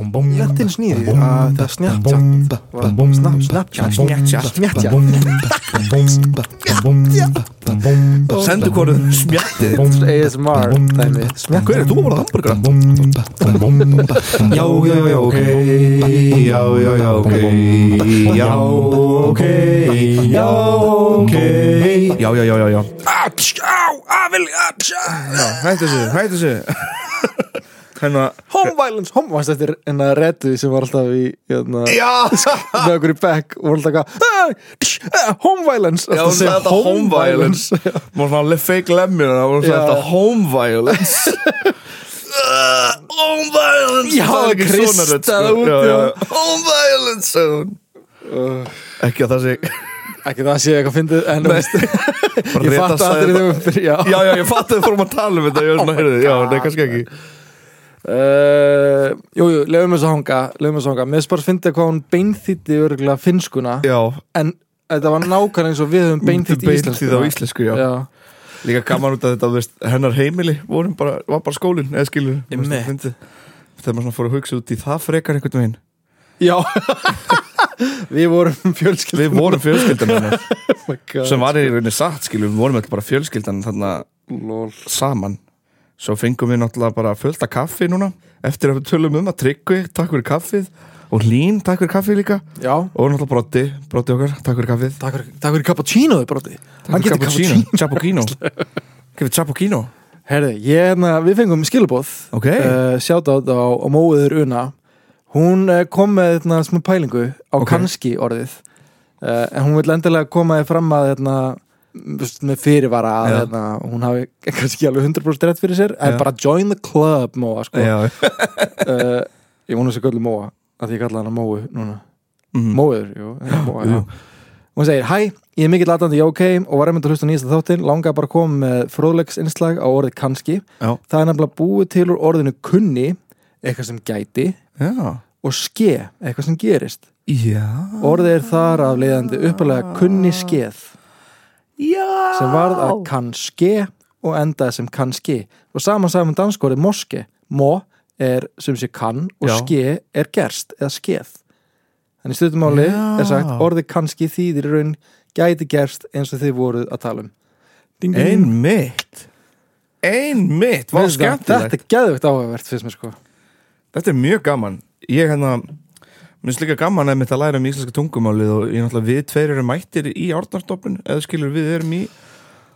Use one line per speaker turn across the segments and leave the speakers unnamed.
Ég ætti einu snýði að það snjáttjátt var snapp, snappjátt, snjáttjátt, snjáttjátt
Sendu hvoru smjattið þitt.
ASMR dæmi Snjáttjátt
Hver er þú að borða hamburgara?
Já, já, já, ok
Já, já, já, ok Já, ok Já, ok Já, já, já, já, já Aps, á, afil, aps
Já, hættu þessu, hættu þessu Hérna,
Home violence, home Varst þetta enna reddu sem var alltaf í hérna,
Já,
með okkur í back og voru alltaf eitthvað, "Ah, ah, home violence
já, hún sagði þetta home violence Hún var svona fake lemmir og hún sagði
Já.
þetta home violence Uh, Home violence
Já,
Það er ekki svona
Krista
rödd, sko.
út,
Já,
já.
já. Home violence sagði hún. Ekki að það sé
ekki það sé eitthvað fyndið en þú veist, ég
Rita
fatt að
sagði
allir
það.
þegar við- já.
Já, já, ég fatt að þið fórum að tala um þetta Ég var svona, heyrðu, já, nei, kannski ekki
Uh, jú, jú, lefum þess að hanga lefum þess að hanga, mér spart fyndið hvað hún beinþýtti örgulega finskuna
Já,
en þetta var nákvæmlega eins og við höfum beinþýtt í
beint því það
íslenskuna
á íslensku, já
já,
Líka gaman út að þetta, þú veist, hennar heimili vorum bara, var bara skólinn, eða skilur
Einmitt.
Þegar maður svona fór að hugsa út í það frekar einhvern veginn
já. við vorum fjölskyld
Við vorum fjölskyldan hennar
vorum
sem var í rauninni satt, skilur, við vorum alltaf bara fjölskyldan þarna saman Svo fengum við náttúrulega bara fullt af kaffi núna Eftir að við tölum um að tryggvi, takk fyrir kaffið Og Lín, takk fyrir kaffið líka
já,
Og náttúrulega Broddi, Broddi okkar, takk fyrir kaffið
takk fyrir- takk fyrir cappuccinoði broti hann getur cappuccino
Cappuccino Gefið Cappuccino
Herði, ég, hérna, við fengum skilabóð
Ok.
uh, Shoutout á, á móður Una Hún uh, kom með hérna, smá pælingu á
Ok.
kannski orðið uh, En hún vil endilega koma þið fram að hérna, m, þú veist, með fyrirvara að
Já.
hérna, hún hafi kannski alveg 100% rétt fyrir sér En
Já.
bara join the club, Móa sko.
Já,
uh, Ég vona þessi göllu Móa að ég kalla hana Móu núna
Mhm.
Móður, jú, eh, Móa,
jú.
já Hún segir, hæ, ég er mikill aðdandi í OK og var einmitt að hlusta á nýjasta þáttinn, langaði bara að koma með fróðlegsinslag á orðið kannski
Já.
það er nefnilega búið til úr orðinu kunni eitthvað sem gæti
já
og ske, eitthvað sem gerist
Já
orðið er þar af leiðandi uppalega kunni skeð
Já
sem varð að kannske og endaði sem kannski og saman saman danskorið moske mo er sem sé kann og
Já.
ske er gerst eða skeð en í stuttumáli
Já.
er sagt orðið kannski þýðir í raun gæti gerst eins og þið voruð að tala um ding,
Einmitt Einmitt, var
Mér finnst það-
skemmtilegt
þetta er geðvegt áhugavert fyrst mér sko
Þetta er mjög gaman Ég hérna Mér finnst líka gaman að mitt að læra um íslenska tungumálið og ég náttúrulega við tveir erum mættir í árnarstofnun eða skilur við erum í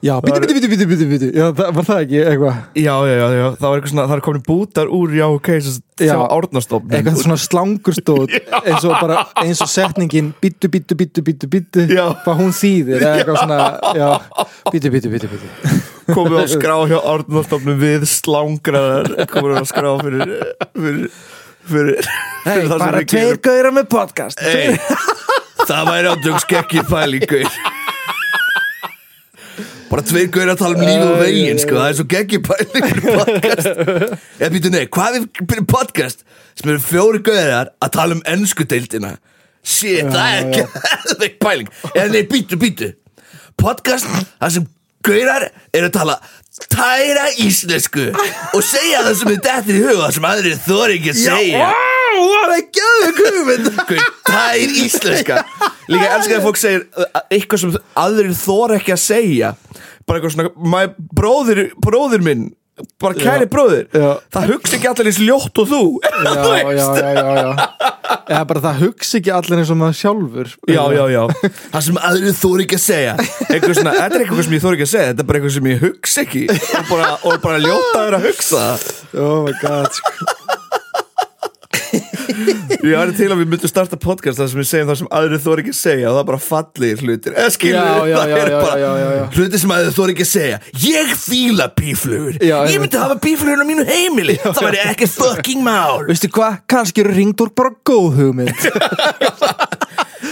Já, bíti, bíti, bíti, bíti, bíti, bíti Já, það var það ekki eitthvað
Já, já, já, já, það var eitthvað svona, það er komin bútar úr já, ok, þess að
Já.
sjá árnarstofnun
Eitthvað svona slangurstóð eins og bara, eins og setningin Bítu, bítu, bítu, bítu, bítu
Já.
Hvað hún þýðir, eða eitthvað svona já, Bítu, bítu, bítu, bítu
komið á skrá hjá Árnastofnum við slangraðar komið á skrá fyrir fyrir, fyrir, fyrir það sem við gerum Eh,
gauðra með podcast
hey, það væri ándjóks ekki pælingu bara tveir gauðir að tala um líf og veginn sko, það er svo geggi pælingur í podcast eða býtu nei, hvað er fyrir podcast sem eru fjóri gauðir að tala um ennsku deildina shit, það er geggi pæling eða nei, býtu, býtu podcast þar sem gauðar eru að tala tæra íslensku og segja það sem er dettir í huga sem aðrir þóri ekki að segja
Það er geðvegt hugmynd
Guð, það er íslenska Líka elskar að fólk segir uh, eitthvað sem aðrir þor ekki að segja Bara eitthvað svona, my bróðir, bróðir minn Bara kæri bróðir
Já.
Það hugsa ekki allir eins ljótt og þú
Já,
Þú veist.
já, já, já, já Eða bara það hugsi ekki allir eins og maður sjálfur
Já, já, já Það sem aðrið þóri ekki að segja Eitthvað svona, Þetta er eitthvað sem ég þóri ekki að segja Þetta er bara eitthvað sem ég hugsa ekki Og bara, og bara ljótaður að hugsa það.
Oh my god, sko
Ég var til að við myndum starta podcast Það sem við segjum það sem aðrið þóri ekki að segja Og það er bara fallir hlutir Eða skilur
Já, já,
það
já,
er
já,
bara
já, já, já.
Hlutir sem aðrið þóri ekki að segja Ég fíla bíflugur
Já,
Ég
einmitt.
myndi hafa bíflugur á mínu heimili Það væri ekki fucking mál
Veistu hvað, kannski eru ringdur bara góð hugmynd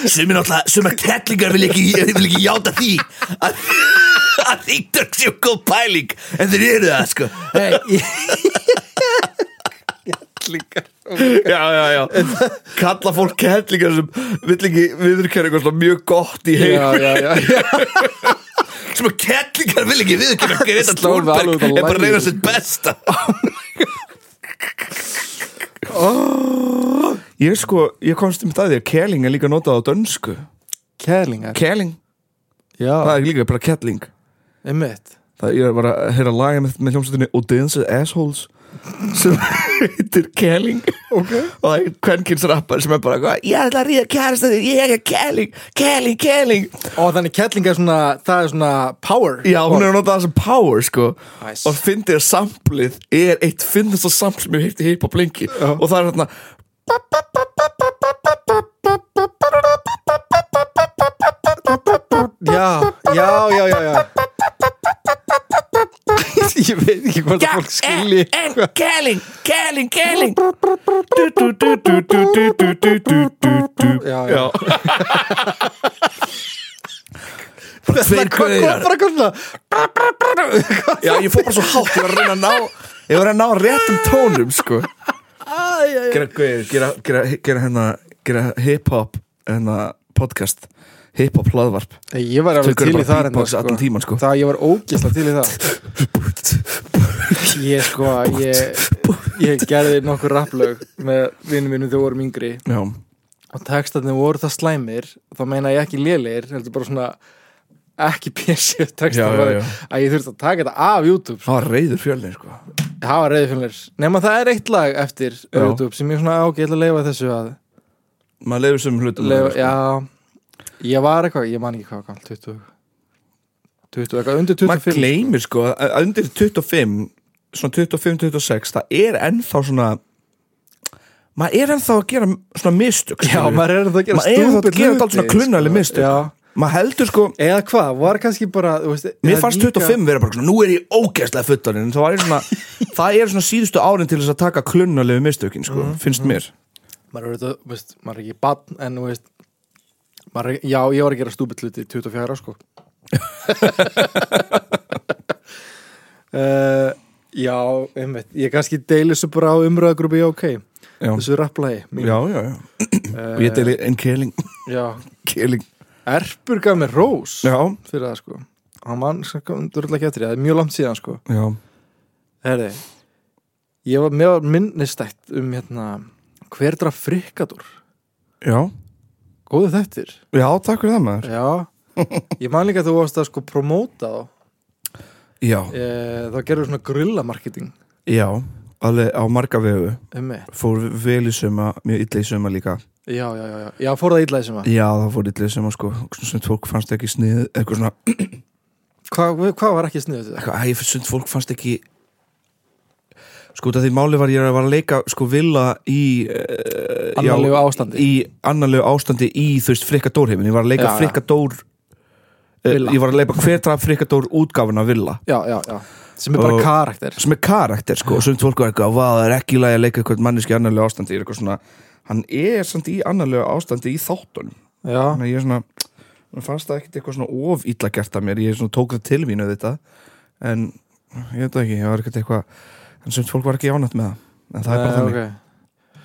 sem er náttúrulega, sem að kettlingar vil ekki, vil ekki játa því að, að þýttur séu góð pæling en þeir eru það sko
Hey, ég-
já, já, já kalla fólk kettlingar sem vil ekki viðurkjæra eitthvað svona mjög gott í heim
Já, já, já, já
sem að kettlingar vil ekki viðurkjæra Greta
Slóðu alveg út
Thunberg
á
er bara að
lagið.
reyna sitt besta
Oh
Ég sko, ég komst um það því að Keling er líka notað á dönsku
Kælingar
Keling, það
Já,
er líka bara kettling
einmitt
Það ég var að heyra laga með, með hljómsveitinni Odense Assholes sem heitir Kelling okay. og það er kvenkins rappar sem er bara hvað, ég ætla að ríða kærasta þig, ég er Kelling, Kelling, Kelling
Og þannig kæling er svona, það er svona power
Já, hún er að nota það sem power sko
Nice.
og fyndið að samplið er eitt fyndast að sampl sem ég heitti hip hop lengi og það er hérna
Já, já, já, já, já. Ég veit ekki hvað það fólk skilji
Kelling, Kelling, Kelling Du, du, du, du, du, du, du, du, du, du, du
Já, já.
Tveir gauðar
Bara kom svona
Já, ég fór bara svo hátt, ég var að reyna að ná Ég var að ná réttum tónum, sko Gera, gauðir, gera, gera, gera hérna Gera hip-hop hérna, podcast Hip-hop hlaðvarp
Nei, Ég var alveg
Þau
til
gera
í
bara
það
beatbox allan tímann, sko.
Það, ég var ógisla til í það Ég sko, ég, ég gerði nokkur rapplög með vinnum mínum þegar vorum yngri
Já,
og textarnir voru það slæmir og þá meina ég ekki lélir, heldur bara svona ekki pjessið
Já,
textar
já,
bara,
já.
að ég þurfti að taka þetta af YouTube
það var reyður fjölnir, sko
Það var reyðfjörnir Nefn að það er eitt lag eftir á
Já.
YouTube sem ég svona á, ok, ég ætla að leifa þessu að
Maður sko. leiður sem hlutum
leifa, Já, ég var eitthvað, ég man ekki hvað var 20 20, eitthvað undir 25
Maður gleymir, sko, að að undir 25 Svona 25-26 Það er ennþá svona Maður er ennþá að gera svona mistök
Já,
skilurðu.
maður er það að gera
Maður er ennþá að
stúpid
gera
hluti,
þetta svona klunnali
sko.
mistök
Já.
Maður heldur, sko
Eða hvað, var kannski bara þú veist,
Mér
eða
fannst
líka-
25 vera bara svona, nú er ég ógeðslega fullorinn en það var ég svona, það er svona síðustu árin til þess að taka klunnalegu mistökin sko, finnst mér
Maður er, auðvitað, þú veist, maður er ekki bann en þú veist maður er, Já, ég var að gera stúpid hluti í 24 sko uh, Já, einmitt Ég kannski deil þessu bara á umröðagrúpi, já, ok
Já,
þessu rapplagi mínu.
já, já, já. og ég deli en keling,
Eh, já.
keling
Erpur gaf mér rós
Já,
fyrir það sko hann mann durðlega ekki eftir því, það er mjög langt síðan sko
já,
herri ég var mjög minnistætt um hérna hver draf frikkadur
já
góðu þettir
Já, takk fyrir það maður
já ég man líka að þú varst að sko promóta þá
Já,
e, þá gerðu svona grillamarketing
já, alveg á marga vegu
um mig
fór vel í suma, mjög illa í suma líka
já, já, já, já, já, fór það illa þessum að
Já, það fór illa í suma sko, svona sem fólk fannst ekki snið eitthvað svona,
hvað hva var ekki sniðið þetta?
eitthvað, æ, sund fólk fannst ekki sko, út af því máli var ég að var að leika sko villa í uh,
annarlegu ástandi
í annarlegu ástandi í þú veist frikadórheimin, ég var að leika
Já, já.
frikadór eh,
Villa.
ég var að leika hver draf frikadór útgáfuna villa
já, já, já, sem er bara
Og-
karakter
sem er karakter sko, og sumt fólk var eitthvað "Vá, það er ekki í lagi að leika eitthvað manneski í annarlegu ástandi Ég er eitthvað svona, hann er samt í annarlegu ástandi í þáttunum
já,
þannig að ég er svona, mér fannst það ekkit eitthvað svona of illa gert af mér, ég svona tók það til mínu þetta, en ég veit það ekki, ég var ekkert eitthvað en sumt fólk var ekki ánætt með það en það er bara
Nei,
þannig
Eh, ok.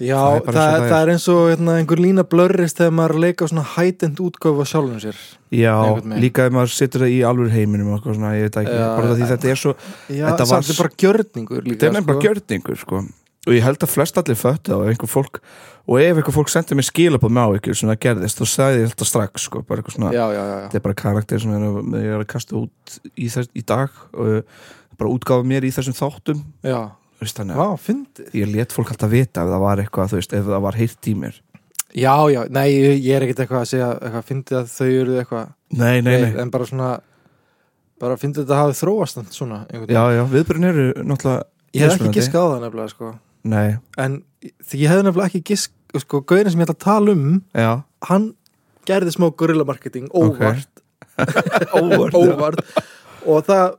Já,
Það
það
er bara eins og
það,
það er.
er eins og hérna, einhver lína blörrist þegar maður er að leika á svona hætend útgáfu á sjálfum sér
Já,
Einhvern veginn.
líka ef maður situr það í alveg heiminum og eitthvað svona, ég veit það ekki,
Já,
bara því
já.
þetta er svo
Já,
Þetta var-
samt er bara gjörningur líka
þetta er nefnilega gjörningur, sko og ég held að flest allir föttu og einhver fólk og ef einhver fólk sendi mér skilabóð með á ykkur sem það gerðist, þá sagði ég þetta strax sko, bara eitthvað svona,
Já, já, já, já.
þetta er bara karakter sem ég er að, ég er að kasta út í, þess, í dag og bara útgáfa mér í þessum þáttum
já.
þú veist þannig,
Vá, fyndið
að ég let fólk alltaf vita ef það var eitthvað, þú veist, ef það var heilt í mér
Já, já, nei, ég ég er ekkert eitthvað að segja eitthvað, fyndið að þau eru eitthvað
Nei, nei, nei,
En bara svona bara fyndið þetta hafi þróast samt svona einhvern
já,
veginn.
já, viðbrun eru náttúrulega
Ég hef ekki
mismunandi.
giskað á það nefnilega sko.
Nei,
En því ég hef nefnilega ekki gisk sko, gauðin sem ég ætla að tala um
já,
hann gerði smá gorillamarketing
Ok.
óvart
óvart
óvart og það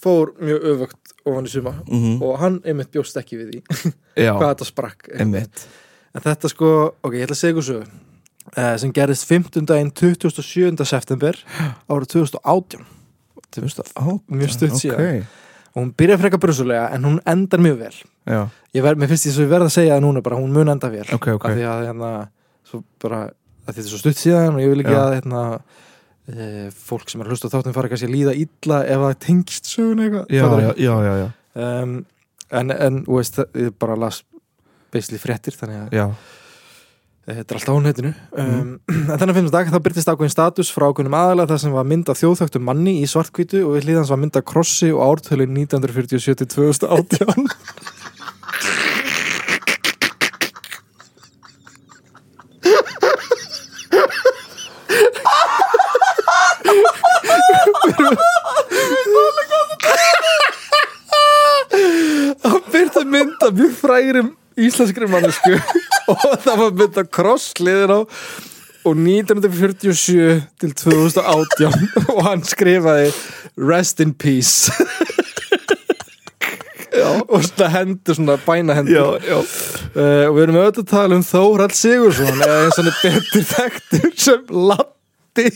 fór mjög öfugt ofan í suma
Mhm.
og hann einmitt bjóst ekki við því
Já,
hvað þetta sprakk
einmitt
en þetta sko, ok, ég ætla að segja ykkur sögu uh, sem gerðist 15. daginn 27. september árið 2018
2008
Mjög stutt síðan.
okay.
og hún byrjaði frekar brusulega en hún endar mjög vel
Já,
ég verð, mér finnst því svo ég verð að segja það núna bara hún mun enda vel
Ok, ok.
af því að hérna svo bara, að þetta er svo stutt síðan og ég vil ekki
Já.
að hérna e, fólk sem er að hlusta á þáttum fara kannski að líða illa ef það tengist sögun eitthvað
já,
Fattarðu?
já, já, já, já.
um, en, en þú veist, ég bara las beisli fréttir þannig að
já,
þetta er alltaf á netinu um, en þannig að finnum dag þá byrtist ákveðin status frá ákveðinum aðalega þar sem var mynd af þjóðþögtum manni í svartkvítu og við hlýðans var mynd af krossi og ártölu 1947-2018 hann byrti mynd af mjög frægurum íslenskri mannesku og það var mynd af krossliðin á og 1947 til 2018 og hann skrifaði rest in peace og svona hendur, svona bænahendur
já, já
uh, og við erum auðvitað að tala um Þórald Sigursson eða eins og hann er betur þekktur sem Latti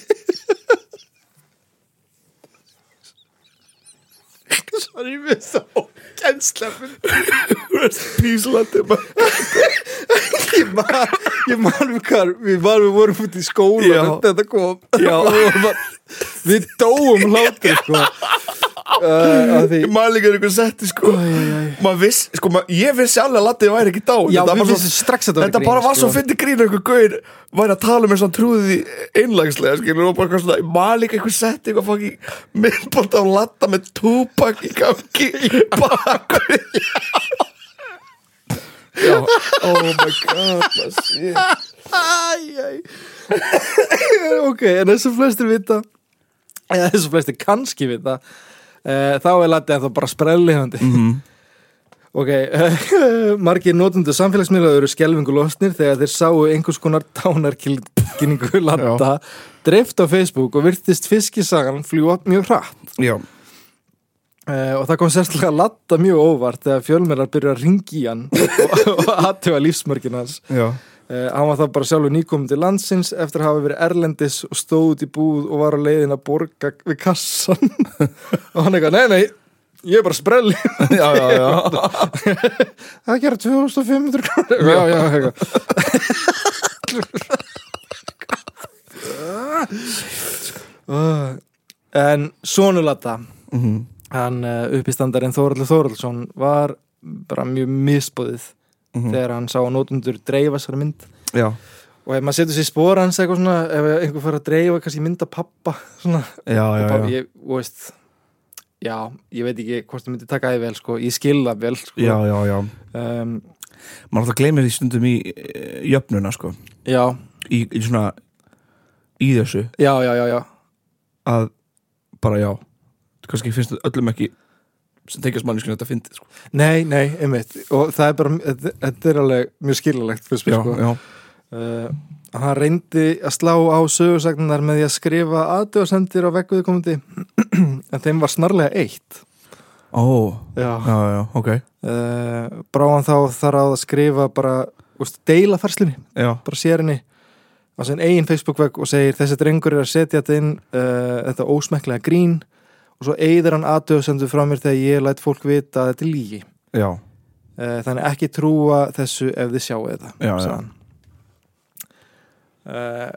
Sorry, mér er það ógænslega
Rest in peace, Latti
ég man, ég man við hvar við varum, við vorum út í skóla
Já.
þegar þetta kom
Já.
Og við var, við dóum hlátur sko uh, af því
Ég man líka einhver setti sko Maður viss, sko, mað, ég vissi alveg að Latti væri ekki dá
Já, við vissum strax að þetta var
Þetta
grín,
bara var
sko.
svo fyndi grín að einhver gauðir væri að tala um með svona trúði einlagslega skilur og bara eitthvað svona, ég man líka einhver setti eitthvað fokki minnbótt á Latta með túpak í gangi í bakgrið Já, oh my god, maður sé
Æj, æj Ok, en eins og flestir vita eða eins og flestir kannski vita uh, þá er Latti ennþá bara sprellihandi
Mhm.
Ok, uh, margir notundu samfélagsmiðla eru skelfingu losnir þegar þeir sáu einhvers konar tánarkynningu Latta dreift á Facebook og virtist fiskisagan fljúa mjög hratt
Já,
Uh, og það kom sérstaklega að latta mjög óvart þegar fjölmjölar byrjuði að ringi í hann og, og aðtöfa lífsmörgin hans
já
Uh, hann var það bara sjálfur nýkominn til landsins eftir að hafa verið erlendis og stóð út í búð og var á leiðin að borga við kassan og hann eitthvað, nei, nei, ég er bara sprelli
Já, já, já
það gera 2500 krónir já, já, eitthvað Uh, en sonulata mm
Mhm,
hann uh, uppistandarinn Þóraldur Þóraldsson var bara mjög misbúðið
Mm.
þegar hann sá að notundur dreifa sér mynd
mhm. Já,
og ef maður setur sér í spór hans eitthvað svona ef einhver fara að dreifa, kannski mynda pappa svona,
já, já,
pappa,
já.
ég, þú veist já, ég veit ekki hvort það myndi taka því vel, sko, ég skilða vel sko.
Já, já, já
um,
maður alltaf gleymir því stundum í eh, jöfnuna sko
já,
í, í svona í þessu
já, já, já, já
að bara já kannski finnst þetta öllum ekki sem tengjast manneskinu þetta fyndið sko.
nei, nei, einmitt, og það er bara þetta- þetta er alveg mjög skilðalegt fyrst,
já,
sko.
já,
uh, hann reyndi að slá á sögursagnar með því að skrifa aðdjóðsendir á vegguðkomandi en þeim var snarlega eitt
ó,
já,
já, já, ok
uh, bráðan þá þar á að skrifa bara, úst, deila færslinni
já,
bara sér henni á sinn eigin Facebook-vegg og segir þessi drengur er að setja þetta inn uh, þetta ósmekklega grín og svo eigður hann aðdöðsendu frá mér þegar ég læt fólk vita að þetta er lígi
já,
uh, þannig ekki trúa þessu ef þið sjáu þetta
Já,
sagði
já.
hann. Uh,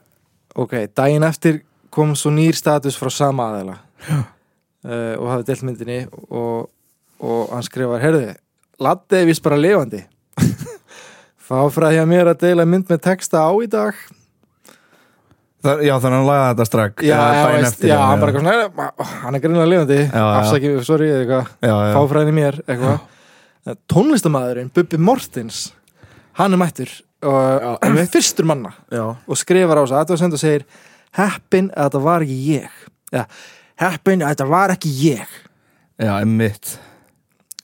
ok, daginn eftir kom svo nýr status frá sama aðeila uh, og hafði delt myndinni og, og hann skrifar herði, Latte er vist bara lifandi fá fræði að mér að deila mynd með texta á í dag
Þa, já þannig að hann laga þetta strakk
já,
eða
já,
daginn
veist,
eftir,
já, hann bara eitthvað svona "Nei, nei, hann er greinlega lifandi,
já.
afsakið sorry, eða eitthvað
já, já,
fáfræðin í mér eitthvað tónlistamæðurinn Bubbi Mortens hann er mættur og hann er fyrstur manna
já,
og skrifar á þess aðtöðsend og segir heppin að þetta var ekki ég eða heppin að þetta var ekki ég
já, emmitt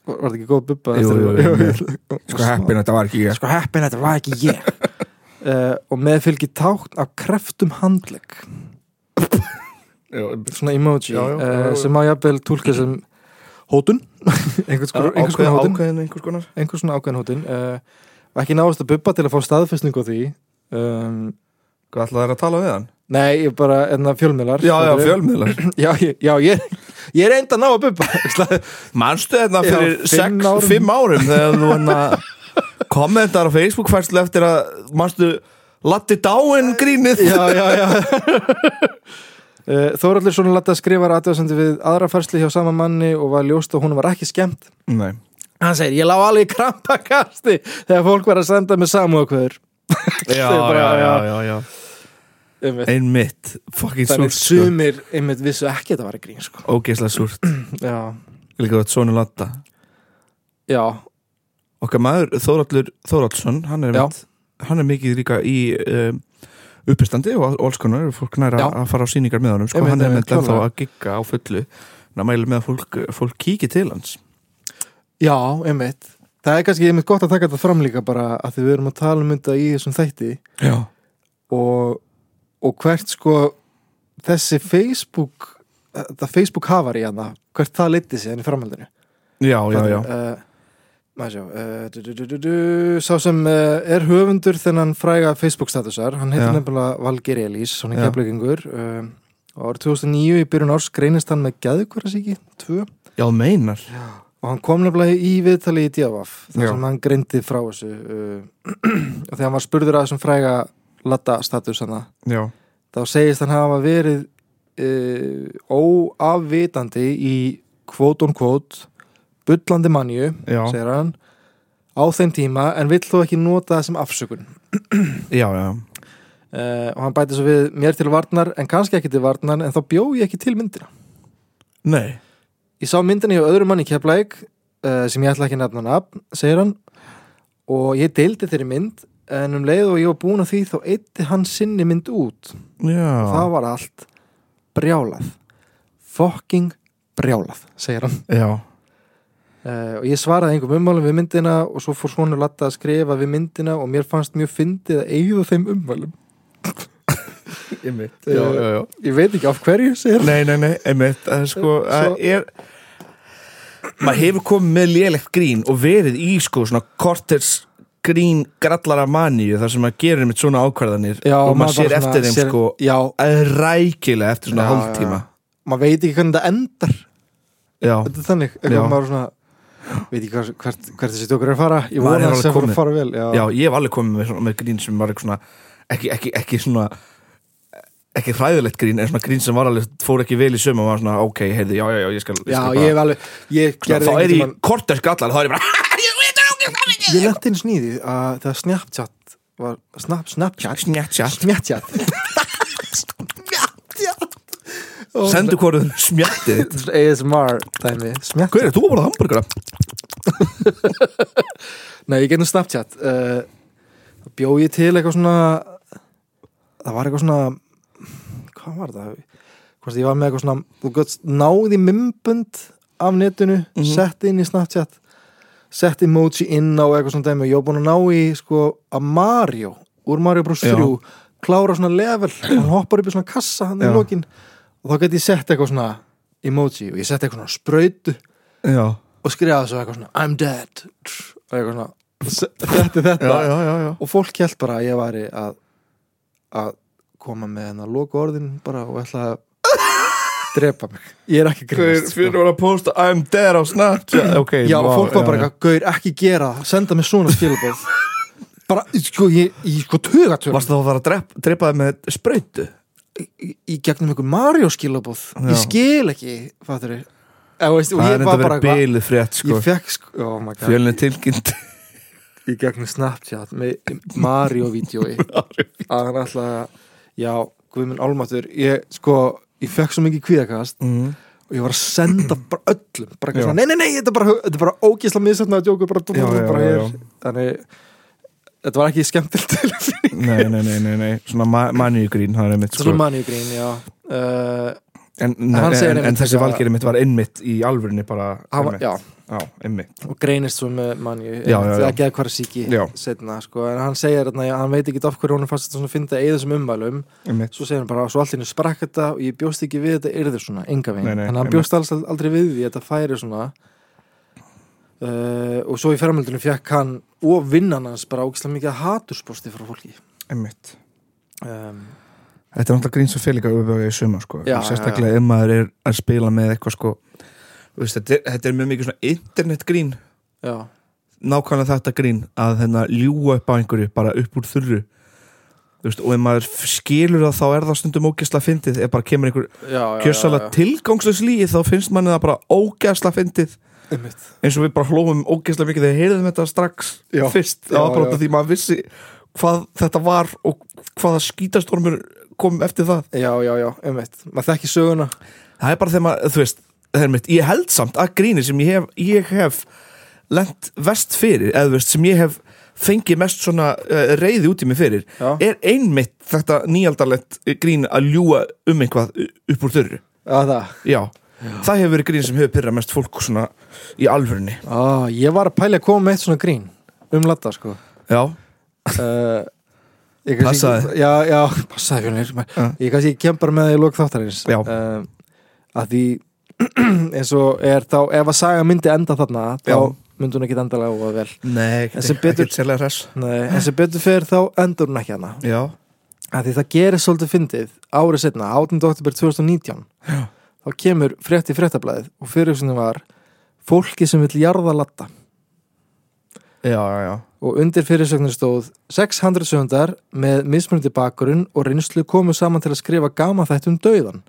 var var þetta ekki góð Bubba?
Jú, jú, jú, sko
sko
heppin að þetta var ekki ég
sko heppin að þetta var ekki ég uh, og með fylgir tákn af kreftum handlegg
já, einmitt.
svona emoji
Já, já,
eh,
já, já.
sem má jafnvel tólka sem hótun einhvers konar einhvers konar hótun
ákveðin einhvers konar
einhvers svona ákveðin hótin uh, og ekki náðast að bubba til að fá staðfestningu á því um,
hvað ætlaði þær að tala við hann?
nei, ég bara enna fjölmiðlar
já, já,
Þetta er-
fjölmiðlar
já, ég, já, ég, ég er enda að ná að bubba Ætlaði-
manstu þetta
Já,
fyrir
fimm árum.
5 árum. árum þegar þú hann að kommentar á Facebook færslu eftir að manstu Latti dáin grínið
já, já, já Uh, Þóraldur svona latta skrifar aðtöðsendu við aðra færsli hjá sama manni og var ljóst að hún var ekki skemmt
Nei,
Hann segir, ég lá alveg í krampakasti þegar fólk var að senda með samúðakvöður
já, já, já, já, já.
Einmitt.
Einmitt, fucking
Þannig
súrt sko.
sumir einmitt vissu ekki að þetta var í grín sko.
Ógeðslega súrt
Já,
Líka þú ert sonu Latta
já,
Okkar maður Þóraldur Þóraldsson Hann er,
Já.
mitt, hann er mikið líka í um, uppistandi og alls konar Fólk næra
Já.
að fara á sýningar með honum sko.
Einmitt,
Hann er
einmitt,
með ennþá
klárlega.
að gigga á fullu Ná mæli með að fólk, fólk kíki til hans
já, einmitt Það er kannski einmitt gott að taka þetta fram líka bara að því við erum að tala um þetta í þessum þætti
Já,
og, og hvert sko þessi Facebook þetta Facebook hafar í hana hvert það leiti síðan í framhaldinu
já, já, já.
uh, maður sjá uh, du, du, du, du, du, sá sem uh, er höfundur þennan fræga Facebook statusar hann heitir
Já.
nefnilega Valger Elís svona
Já.
keflegengur uh, árið 2009 í byrjun árs greinist hann með geðkvarasíki 2
já meinar
og hann kom nefnilega í viðtali í Djavaf þar
Já.
sem hann greindi frá þessu uh, og þegar hann var spurður að þessum fræga latta status hann
Já,
þá segist hann hafa verið uh, óafvitandi í kvót on kvót bullandi manju,
Já.
segir hann á þeim tíma en vill þó ekki nota það sem afsökun
já, já
uh, og hann bæti svo við mér til varnar en kannski ekki til varnar en þá bjó ég ekki til myndina
Nei,
Ég sá myndinni hjá öðrum manni í Keflæk uh, sem ég ætla ekki að nefna nafn, segir hann og ég deildi þeirri mynd en um leið og ég var búin að því þá eitti hann sinni mynd út
já,
það var allt brjálað fucking brjálað, segir hann
já
uh, og ég svaraði einhverjum ummálum við myndina og svo fór svona latta að skrifa við myndina og mér fannst mjög fyndið að eigðu þeim ummálum
Einmitt, já, já, já
ég veit ekki af hverju, segir hann
Nei, nei, nei, einmitt Það er sko, það er Maður hefur komið með lélegt grín og verið í sko svona korters grín grallara maníu þar sem maður gerir einmitt svona ákvarðanir og maður sér
bara svona-
eftir þeim
sér-
sko
já,
rækilega eftir svona
Já,
hálftíma
maður veit ekki hvernig þetta endar
Já,
þetta er þannig,
Já.
eitthvað maður svona veit ekki hvert, hvert, hvert þessi tökur er að fara ég
Maður er
vona að
alveg
þessi fór
kominn.
að fara vel já,
já, ég hef alveg komið með, svona, með grín sem var eitthvað svona ekki, ekki, ekki svona ekki hræðilegt grín, en svona grín sem var alveg fór ekki vel í sömu og var svona, ok, heyrðu, já, já, já, ég skal,
Já,
skal
ég hef alveg ég gerði
Sko, þá er
einhvern
ég
tímann-
korters grallar þá er ég bara, ég veit ekki hvað ég
ég lenti eins nýði að það Snapchat var snap, Snapchat
Snjatja
Snapchat
Sendu hvorið smjatið þitt.
ASMR dæmi
Hver
Snapchat
er þú að borða hambúrgara?
Nei, ég gerði Snapchat uh, þá bjó ég til eitthvað svona það var eitthvað svona hvað var það? Hvort ég var með eitthvað svona þú gott náði mymbund af netinu,
Mhm.
mm setti inn í Snapchat setti emoji inn á eitthvað svona dæmi og ég var búin að ná í sko að Mario, úr Mario Bros.
Já.
3 klára svona level og hann hoppar upp í svona kassa hann í
Já.
lokin og þá geti ég sett eitthvað svona emoji og ég setti eitthvað svona sprautu
Já,
og skrifaði svo eitthvað svona I'm dead og eitthvað svona þetta er þetta
já, já, já.
og fólk held bara að ég væri að að koma með hennar loku orðin bara og ætla að drepa mig ég er ekki grínast sko.
að posta I'm dead á Snapchat Ok,
já og
vá,
fólk var bara
já,
eitthvað gaur ekki gera það senda mig svona skilabóð bara sko ég, ég sko
já.
tugatug
Varstu þá að fara að drep, drepa það með sprautu?
í, í gegnum einhver Mario skilabóð
Já.
ég skil ekki fattur ég veist, og
Það
ég var
er enda
bara
verið
eitthvað
bilið frétt sko
ég fekk sko oh my god
Fjölni tilkynnt
í gegnum Snapchat með Mario-vídeói að hann ætla að já, Guðmund Álmatur ég sko, ég fekk svo mikið kvíðakast
mm.
og ég var að senda bara öllum bara
Já.
eitthvað svona, nei, nei, nei, þetta er bara, þetta er bara ógisla misetna að djóku bara,
Já, já,
bara
já,
hér.
já.
þannig þetta var ekki skemmtilegt tilfinning.
Nei, nei, nei, nei, nei Svona ma manjugrín, það er einmitt
þetta er
sko
manjugrín, já uh,
En, en,
hann segir
en, en
einmitt
þessi
eitthvað-
valgerið mitt var einmitt í alvörinni bara
hann var-
einmitt.
já,
já, einmitt
og greinist svo með manju
Já, já, já.
það geði hvar síki
Já.
setna, sko, en hann segir að hann veit ekki af hverju hún er fast að finna eða þessum ummælum
Einmitt.
svo segir hann bara, svo allt henni sprakk þetta og ég bjóst ekki við þetta yrði svona, enga veginn
Nei,
þannig að
nei,
hann
einmitt.
bjóst alls, aldrei við því að þetta færi svona uh, og svo í ferramöldunum fekk hann og vinnan hans bara ógislega mikið hatursposti frá fólki
einmitt
um,
Þetta er náttúrulega grín sem félaga auðvöga í suma sko.
Já,
sérstaklega ef maður er að spila með eitthvað sko, þú veist, þetta, er, þetta er mjög mikið svona internet grín
já,
nákvæmlega þetta grín að hérna ljúga upp á einhverju bara upp úr þurru Þú veist, og ef maður f- skilur það þá er það stundum ógæsla fyndið ef bara kemur einhver
já, já, já,
kjössalega
já.
tilgangslis líi þá finnst manni það bara ógæsla fyndið
einmitt.
eins og við bara hlófum ógeðslega mikið þegar heyrðum þetta strax
Já.
fyrst
Já,
það var bara út af
já.
því maður vissi hvað þetta var og hvaða skítastormur kom eftir það
Já, já, já, einmitt Maður þekki söguna
það er bara þegar maður, þú veist það er mitt, ég held samt að gríni sem ég hef ég hef lent vest fyrir eða þú veist, sem ég hef fengið mest svona uh, reyði út í mig fyrir
Já.
er einmitt þetta nýjaldarlegt grín að ljúa um eitthvað upp úr þurru
Já, það
já, það hefur verið grín sem hefur pyrrað mest fólk svona í alvörunni
Á, Ah, Ég var að pæla að koma með eitt svona grín Um ladda, sko
já,
uh, ég kannski-
Passaði.
Já, já, passaði Fjölnir
Já.
Ég kannski kem bara með það í lók þáttarins
Já.
uh, Að því eins og er þá Ef að saga myndi enda þarna Þá
Já.
myndi hún ekki endalega og vel
nei,
En sem betur-
ekkert sérlega res
Nei, En sem betur fyrir þá endur hún ekki hana
já,
að því það gerir svolítið fyndið árið setna, 18. oktober 2019 Já. þá kemur frétt í fréttablaðið og fyrirhugsunum var fólki sem vill jarða latta
já, já, já
og undir fyrirsögnum stóð 600 sögundar með mismunandi bakgrunn og reynslu komu saman til að skrifa gama þetta um dauðan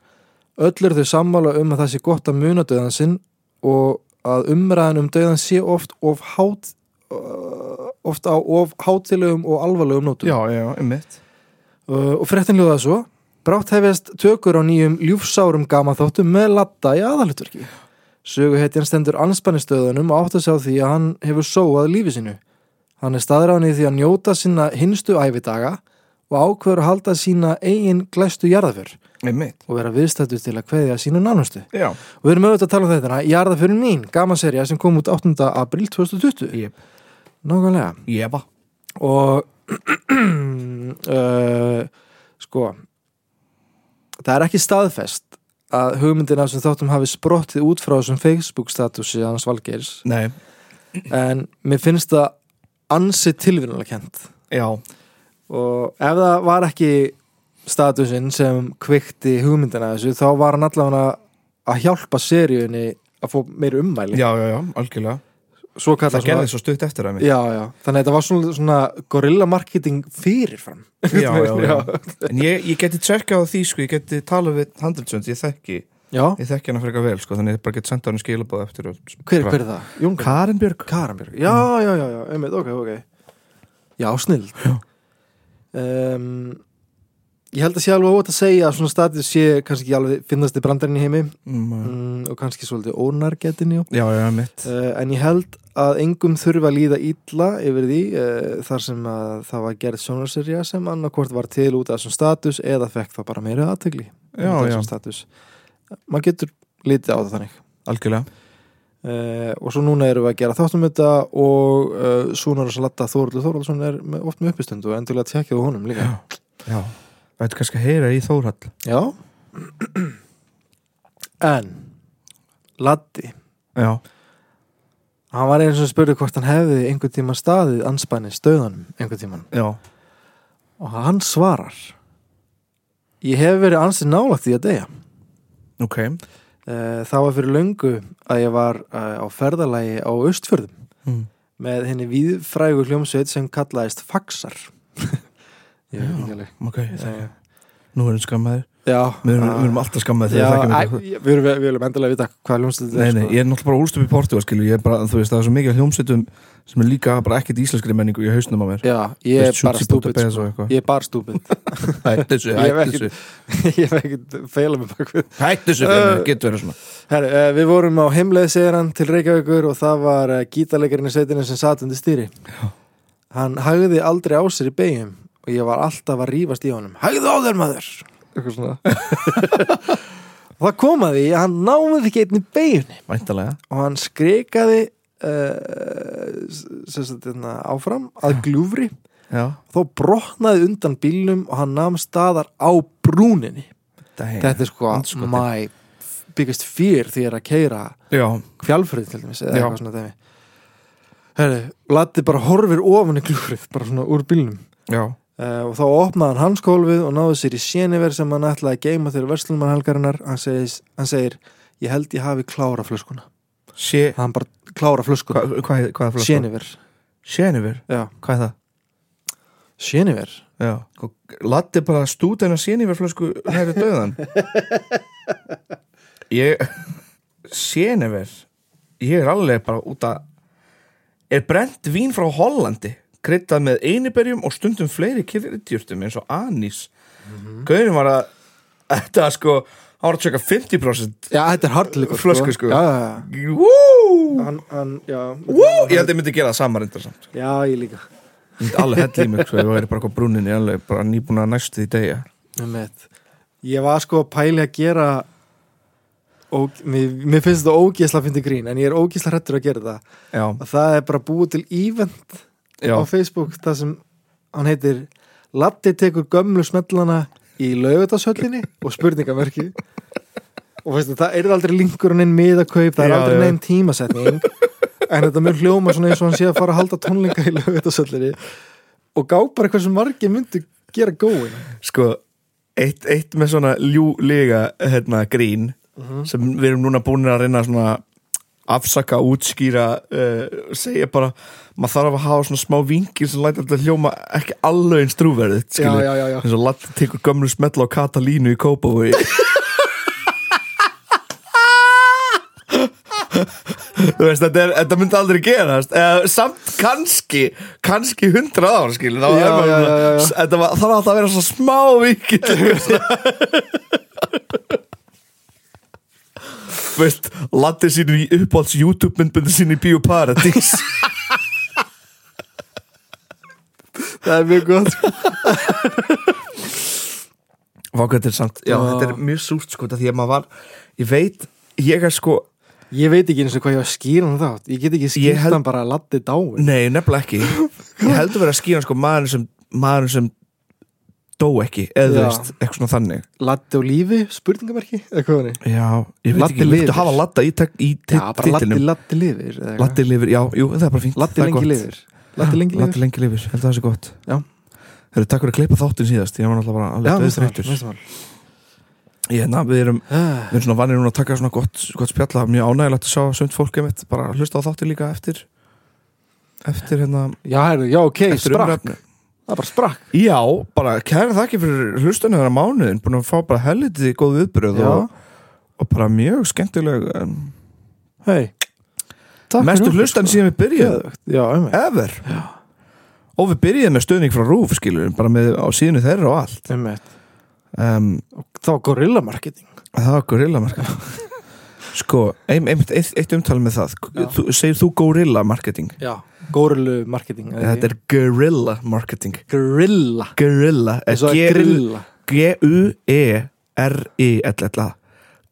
öll eru þau sammála um að það sé gott að muna dauðan sinn og að umræðan um dauðan sé oft of hát uh, oft á of hátilegum og alvarlegum nótum
já, já, einmitt
Uh, og fréttin hljóðaði svo Brátt hefist tökur á nýjum ljúfsárum gamaþáttum með latta í aðalutverki Söguhetjan stendur anspannistöðunum og átt að sjá því að hann hefur sóað lífi sínu Hann er staðrán í því að njóta sína hinstu æfidaga og ákveður að halda sína eigin glæstu jarðaför
einmitt,
og vera viðstættu til að kveðja sínu nánustu
já,
og við erum auðvitað að tala um þetta Jarðaförin mín, gamaserja sem kom út 8. april 2020
ég,
Nákvæmlega
ég var
og uh, sko það er ekki staðfest að hugmyndina sem þáttum hafi sprottið út frá þessum Facebook statusi hans Valgeirs
nei,
en mér finnst það ansi tilvinnulega kent
já,
og ef það var ekki statusinn sem kvikti hugmyndina þessu þá var hann allavega að hjálpa seríunni að fá meiri ummæli
já, já, já, algjörlega
svo
það,
kallað
gerði svo stutt eftir að mig
Já, já, þannig að þetta var svona, svona gorilla marketing fyrirfram
já, já, já.
Já.
en ég, ég geti tjekkað á því sko, ég geti talað við handelsönd, ég þekki
Já,
ég þekki hana frekar vel, sko, þannig ég bara geti senda hann skilabóð eftir sko. og
hver, hver er það? Jón Ka
Karin Björg
Karanbjörg Já, já, já, já, einmitt, ok, ok Já, snill um, Ég held að sé alveg ótt að segja að svona status sé kannski ekki alveg finnast í brandarinn í heimi
mm,
mm, og kannski svolítið ónargetin, já
já, já, mitt
uh, en ég held að engum þurfa að líða illa yfir því uh, þar sem að það var gerð sjónarserja sem annarkvort var til út af þessum status eða fekk það bara meira aðtegli
Já, já.
status maður getur litið á það þannig
algjörlega,
Uh, og svo núna erum við að gera þáttum þetta og uh, Súnar og Salata Þóruldur Þóruldsson er með, oft með uppistundu og endilega tekjaðu honum líka Já,
já Það ertu kannski að heyra í Þórhall
En Latti,
Já,
hann var eins og spurði hvort hann hefði einhvern tíma staðið anspæni stöðanum einhvern tíman
já,
og hann svarar Ég hef verið ansið nálægt því að deyja
ok
Eh, Það var fyrir löngu að ég var eh, á ferðalagi á Östfjörðum
Mm.
með henni víðfrægu hljómsveit sem kallaðist Faxar Ég veit ekki alveg
Ok,
Eh,
þekki Nú erum við skammaðir,
Já
við erum, við erum
að-
alltaf skammaðir
Já,
þegar við
æ,
þekkjum eitthvað.
ég- Við erum- við viljum endilega vita hvað hljómsveit þetta
Nei, sko.
er sko.
nei, ég er náttúrulega bara úlst upp í portu skilur, ég er bara, þú veist, það er svo mikið af hljómsveitum sem er líka bara ekkert íslenskri menningu í hausnum á mér
Já, ég er
Þú veist,
bara
Shootsy
stúpid
Budapest
sko.
og eitthvað.
Ég er bara stúpid
Hættu þessu,
Ég hef
hættu
ekkert-
þessu
Ég hef ekkert feila með bakvið
Hættu þessu,
Bjarni,
getur verið svona
Herru, uh, við vorum á heimleið segir hann til Reykjavíkur og það var uh, gítarleikarinn í sveitinu sem satt undir stýri Hann hægði aldrei á sér í beigjum og ég var alltaf að rífast í honum Hægðu á þér maður Eitthvað svona Og það kom að því að hann náði ekki einn í beigjunni
Væntalega
og hann skrikaði uh, sem sagt hérna áfram að gljúfri
Já,
þá brotnaði undan bílnum og hann nam staðar á brúninni Þetta er sko
andskotinn.
my biggest fear því er að keira
Já,
fjálfrið til dæmis eða
Já.
eitthvað svona dæmi Herri, Latti bara horfir ofan í glúfrið bara svona úr bílnum
já,
uh, og þá opnaði hann hanskólfið og náði sér í séniver sem hann ætlaði að geima til verslumann helgarinnar hann, segis, hann segir, ég held ég hafi klára flöskuna
sé
hann bara klára flöskuna
Hvað hva, hva er flöskan?
séniver,
Séniver,
já,
hvað er það?
séniver
Já Latti bara stúd en að séniver flösku hæri döðan Ég Séniver ég er alveg bara út að er brent vín frá Hollandi kryddað með einiberjum og stundum fleiri kryddjurtum eins og anís Gauðin var að þetta sko, hann var að tjöka 50%
Já, þetta er hardlikur
flösku sko
Já, já, já
Woo!
Hann, hann, já
Woo! Ég held að ég myndi gera það samar endur samt
Já, ég líka
Ég myndi alveg hella í mig sko, ef það væri bara eitthvað brúnin ég alveg bara nýbúin að næstu því degja
Einmitt. Ég var sko að pæli að gera og mér, mér finnst þetta ógeðsla að finna grín en ég er ógeðsla hrættur að gera það
Já,
að það er bara búið til event
já,
á Facebook það sem hann heitir Latti tekur gömlu smellana í laugadashöllinni og spurningamörki og veistu, það er aldrei linkurinn inn miðakaup, það er
Já,
aldrei
já.
neinn tímasetning en þetta mun hljóma svona eins og hann sé að fara að halda tónlinga í laugadashöllinni og gá bara hversu margir myndu gera góin
sko eitt, eitt með svona ljúlega hérna, grín
Mhm.
sem við erum núna búin að reyna svona afsaka, útskýra uh, segja bara, maður þarf að hafa svona smá vinkir sem læta alltaf hljóma ekki alveg eins trúverðið,
já,
skilur
já, já, já.
eins og Latti tekur gömlu smetla á Katalínu í Kópavogi Þú veist, þetta, er, þetta myndi aldrei gerast eða, Samt kannski Kannski hundrað ára, skil já,
Já, já, já, já.
Þetta var, þarf alltaf að vera svo smá vikið Veist, Latti sínir í uppáhalds YouTube myndbundu sín í Bíóparadís
það er mjög gott sko.
Vá, hvað þetta er samt Já,
Já.
þetta er mjög súrt sko þetta Því að maður var, ég veit Ég er sko,
Ég veit ekki eins og hvað ég var að skýra hann þátt Ég get ekki
Ég
skýrt
held-
hann bara að laddi dáin
nei, nefnilega ekki Ég heldur verið að skýra sko maðurinn sem Maðurinn sem dó ekki Eða þú
Já.
veist, eitthvað svona þannig
Laddi á lífi, spurningamarki, eða hvað hann er
Já, ég veit
Laddi
ekki, viltu
lifir.
hafa Latta í, tek- í
Já, bara laddi,
titlinum
laddi lifir eða eitthvað.
Latti lifir, já, jú, það er bara fínt
Laddi
það er gott.
lengi lifir Laddi lengi lifir
Latti lengi lifir, ég held að það sé gott
Já.
Þeir eru takk fyrir að klippa þáttinn síðast Ég var náttúrulega
Já,
bara alveg
næsta mál,
döðþreyttur.
næsta mál.
Ég, na, Við erum
Ah,
Við erum svona vanir núna að taka svona gott, gott spjalla Mjög ánægilegt að sjá sömt fólk einmitt Bara að hlusta á þáttir líka eftir Eftir hérna
Já, herru, já, ok,
eftir
sprakk
umræðum.
Það bara sprakk
Já, bara kæra þakki fyrir hlustunum þeirra mánuðin Búin að fá bara helviti góð viðbröð
Já.
og, og bara mjög skemmtileg um,
hey. Takk fyrir
Mestu
okkur,
hlustan
sko.
síðan við byrjuðum
Geðvegt, Já, einmitt.
Ever Já. Og við byrjuðum með stöðning frá Rúf skilur Bara með, á síðinu þeirra og allt
einmitt
um,
Og Það var gorilla marketing
Það var gorillamarketing Sko, ein, einmitt eitt, eitt umtal með það
Já.
þú, Segir þú gorillamarketing?
Já, gorillu marketing eða
Þetta
ekki?
er guerrilla marketing eh,
Gorilla
Guerrilla er
Eins og að
G-U-
grilla
E G-U-E-R-I-L-L-A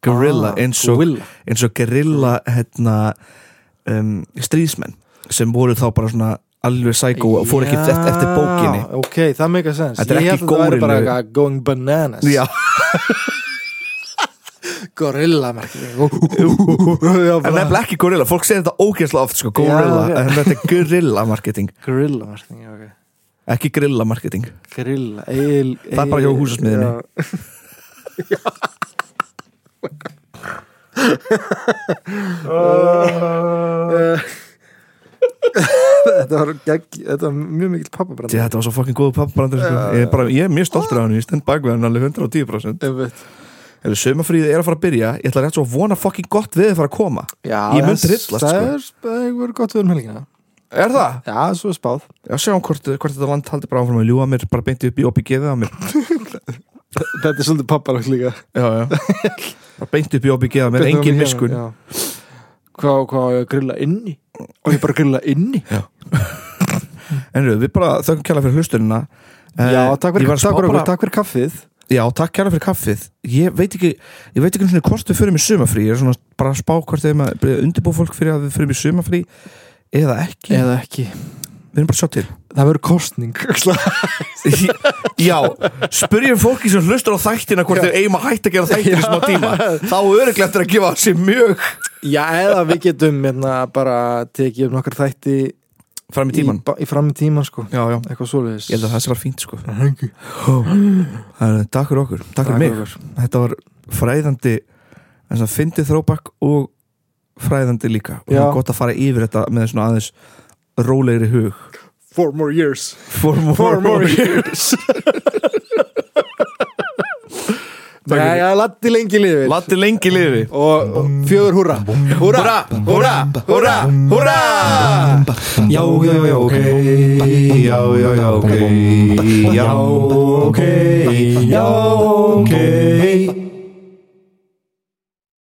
Guerrilla
Ah,
eins og
gorilla.
eins og guerrilla hérna um, stríðsmenn sem voru þá bara svona alveg psycho og fóru ekki
Já,
eftir, eftir bókinni
ok, það meika sens
Þetta er
Ég
ekki
held að það væri bara
górillu.
eitthvað going bananas
Já,
gorilla marketing Já,
en
bara-
nefnilega ekki gorilla, fólk segir þetta ógeðslega oft sko, gorilla,
Já, já.
en þetta er guerrilla marketing,
gorilla marketing, já, ok
ekki grilla marketing
gorilla, eil
Það er bara hjá húsasmiðjunni.
Eh. Þetta var, gegg, þetta var mjög mikill pappabrand
Því, þetta var svo fucking góðu pappabrandur sko. ég, er bara, ég er mjög stoltur af hann, ég stend bak við hann alveg 110% Hefur sömafríðið er að fara að byrja Ég ætla rétt svo að vona fucking gott veðið fara að koma Ég mun drillast
Það
sko
er það hefur gott við um helgina
Er það?
Já, svo er spáð
Já, sjáum hvort, hvort þetta land haldi bara áfram að ljúa mér Bara beinti upp í opið geðið á mér
Þetta er svolítið pappalagt líka
Já, já Bara beinti upp í opið geðið á mér, engin miskun
Já. Hvað, hvað, á ég að grilla inni? Og ég bara að grilla inni?
En rauð, við bara þökkum kæla fyrir hlustunina Eh,
Já, takk fyrir, takk, fyrir,
bara,
bara... takk fyrir kaffið
Já, takk kæla fyrir kaffið Ég veit ekki, ég veit ekki um svona hvort við förum í sömafrí Ég er svona bara að spá hvort þeim að undirbú fólk fyrir að við förum í sömafrí Eða ekki,
Eða ekki
við erum bara að sjá til
Það verður kostning
Já, spurjum fólki sem hlustar á þættina hvort þeir eigum að hætta að gera þættina smá tíma þá öruglega eftir að gefa sér mjög
Já, eða við getum hérna, bara tekið upp nokkar þætti
fram í tíman
í, ba- í fram í tíman sko
Já, já,
Eitthvað svoleiðis
ég held að það sé var fínt sko Ó, það er- Takk fyrir okkur, takk fyrir mig
okkur.
Þetta var fræðandi þess að fyndi þróbakk og fræðandi líka og það
Já.
er gott að fara yfir þetta með svona aðeins rólegri hug
Four more years
For more,
Four more years Nei, já, Latti lengi lifi
Latti lengi lifi
og, og fjögur húra Húra, húra, húra, húra
Já, já, já, ok Já, já, já, ok Já, ok Já, ok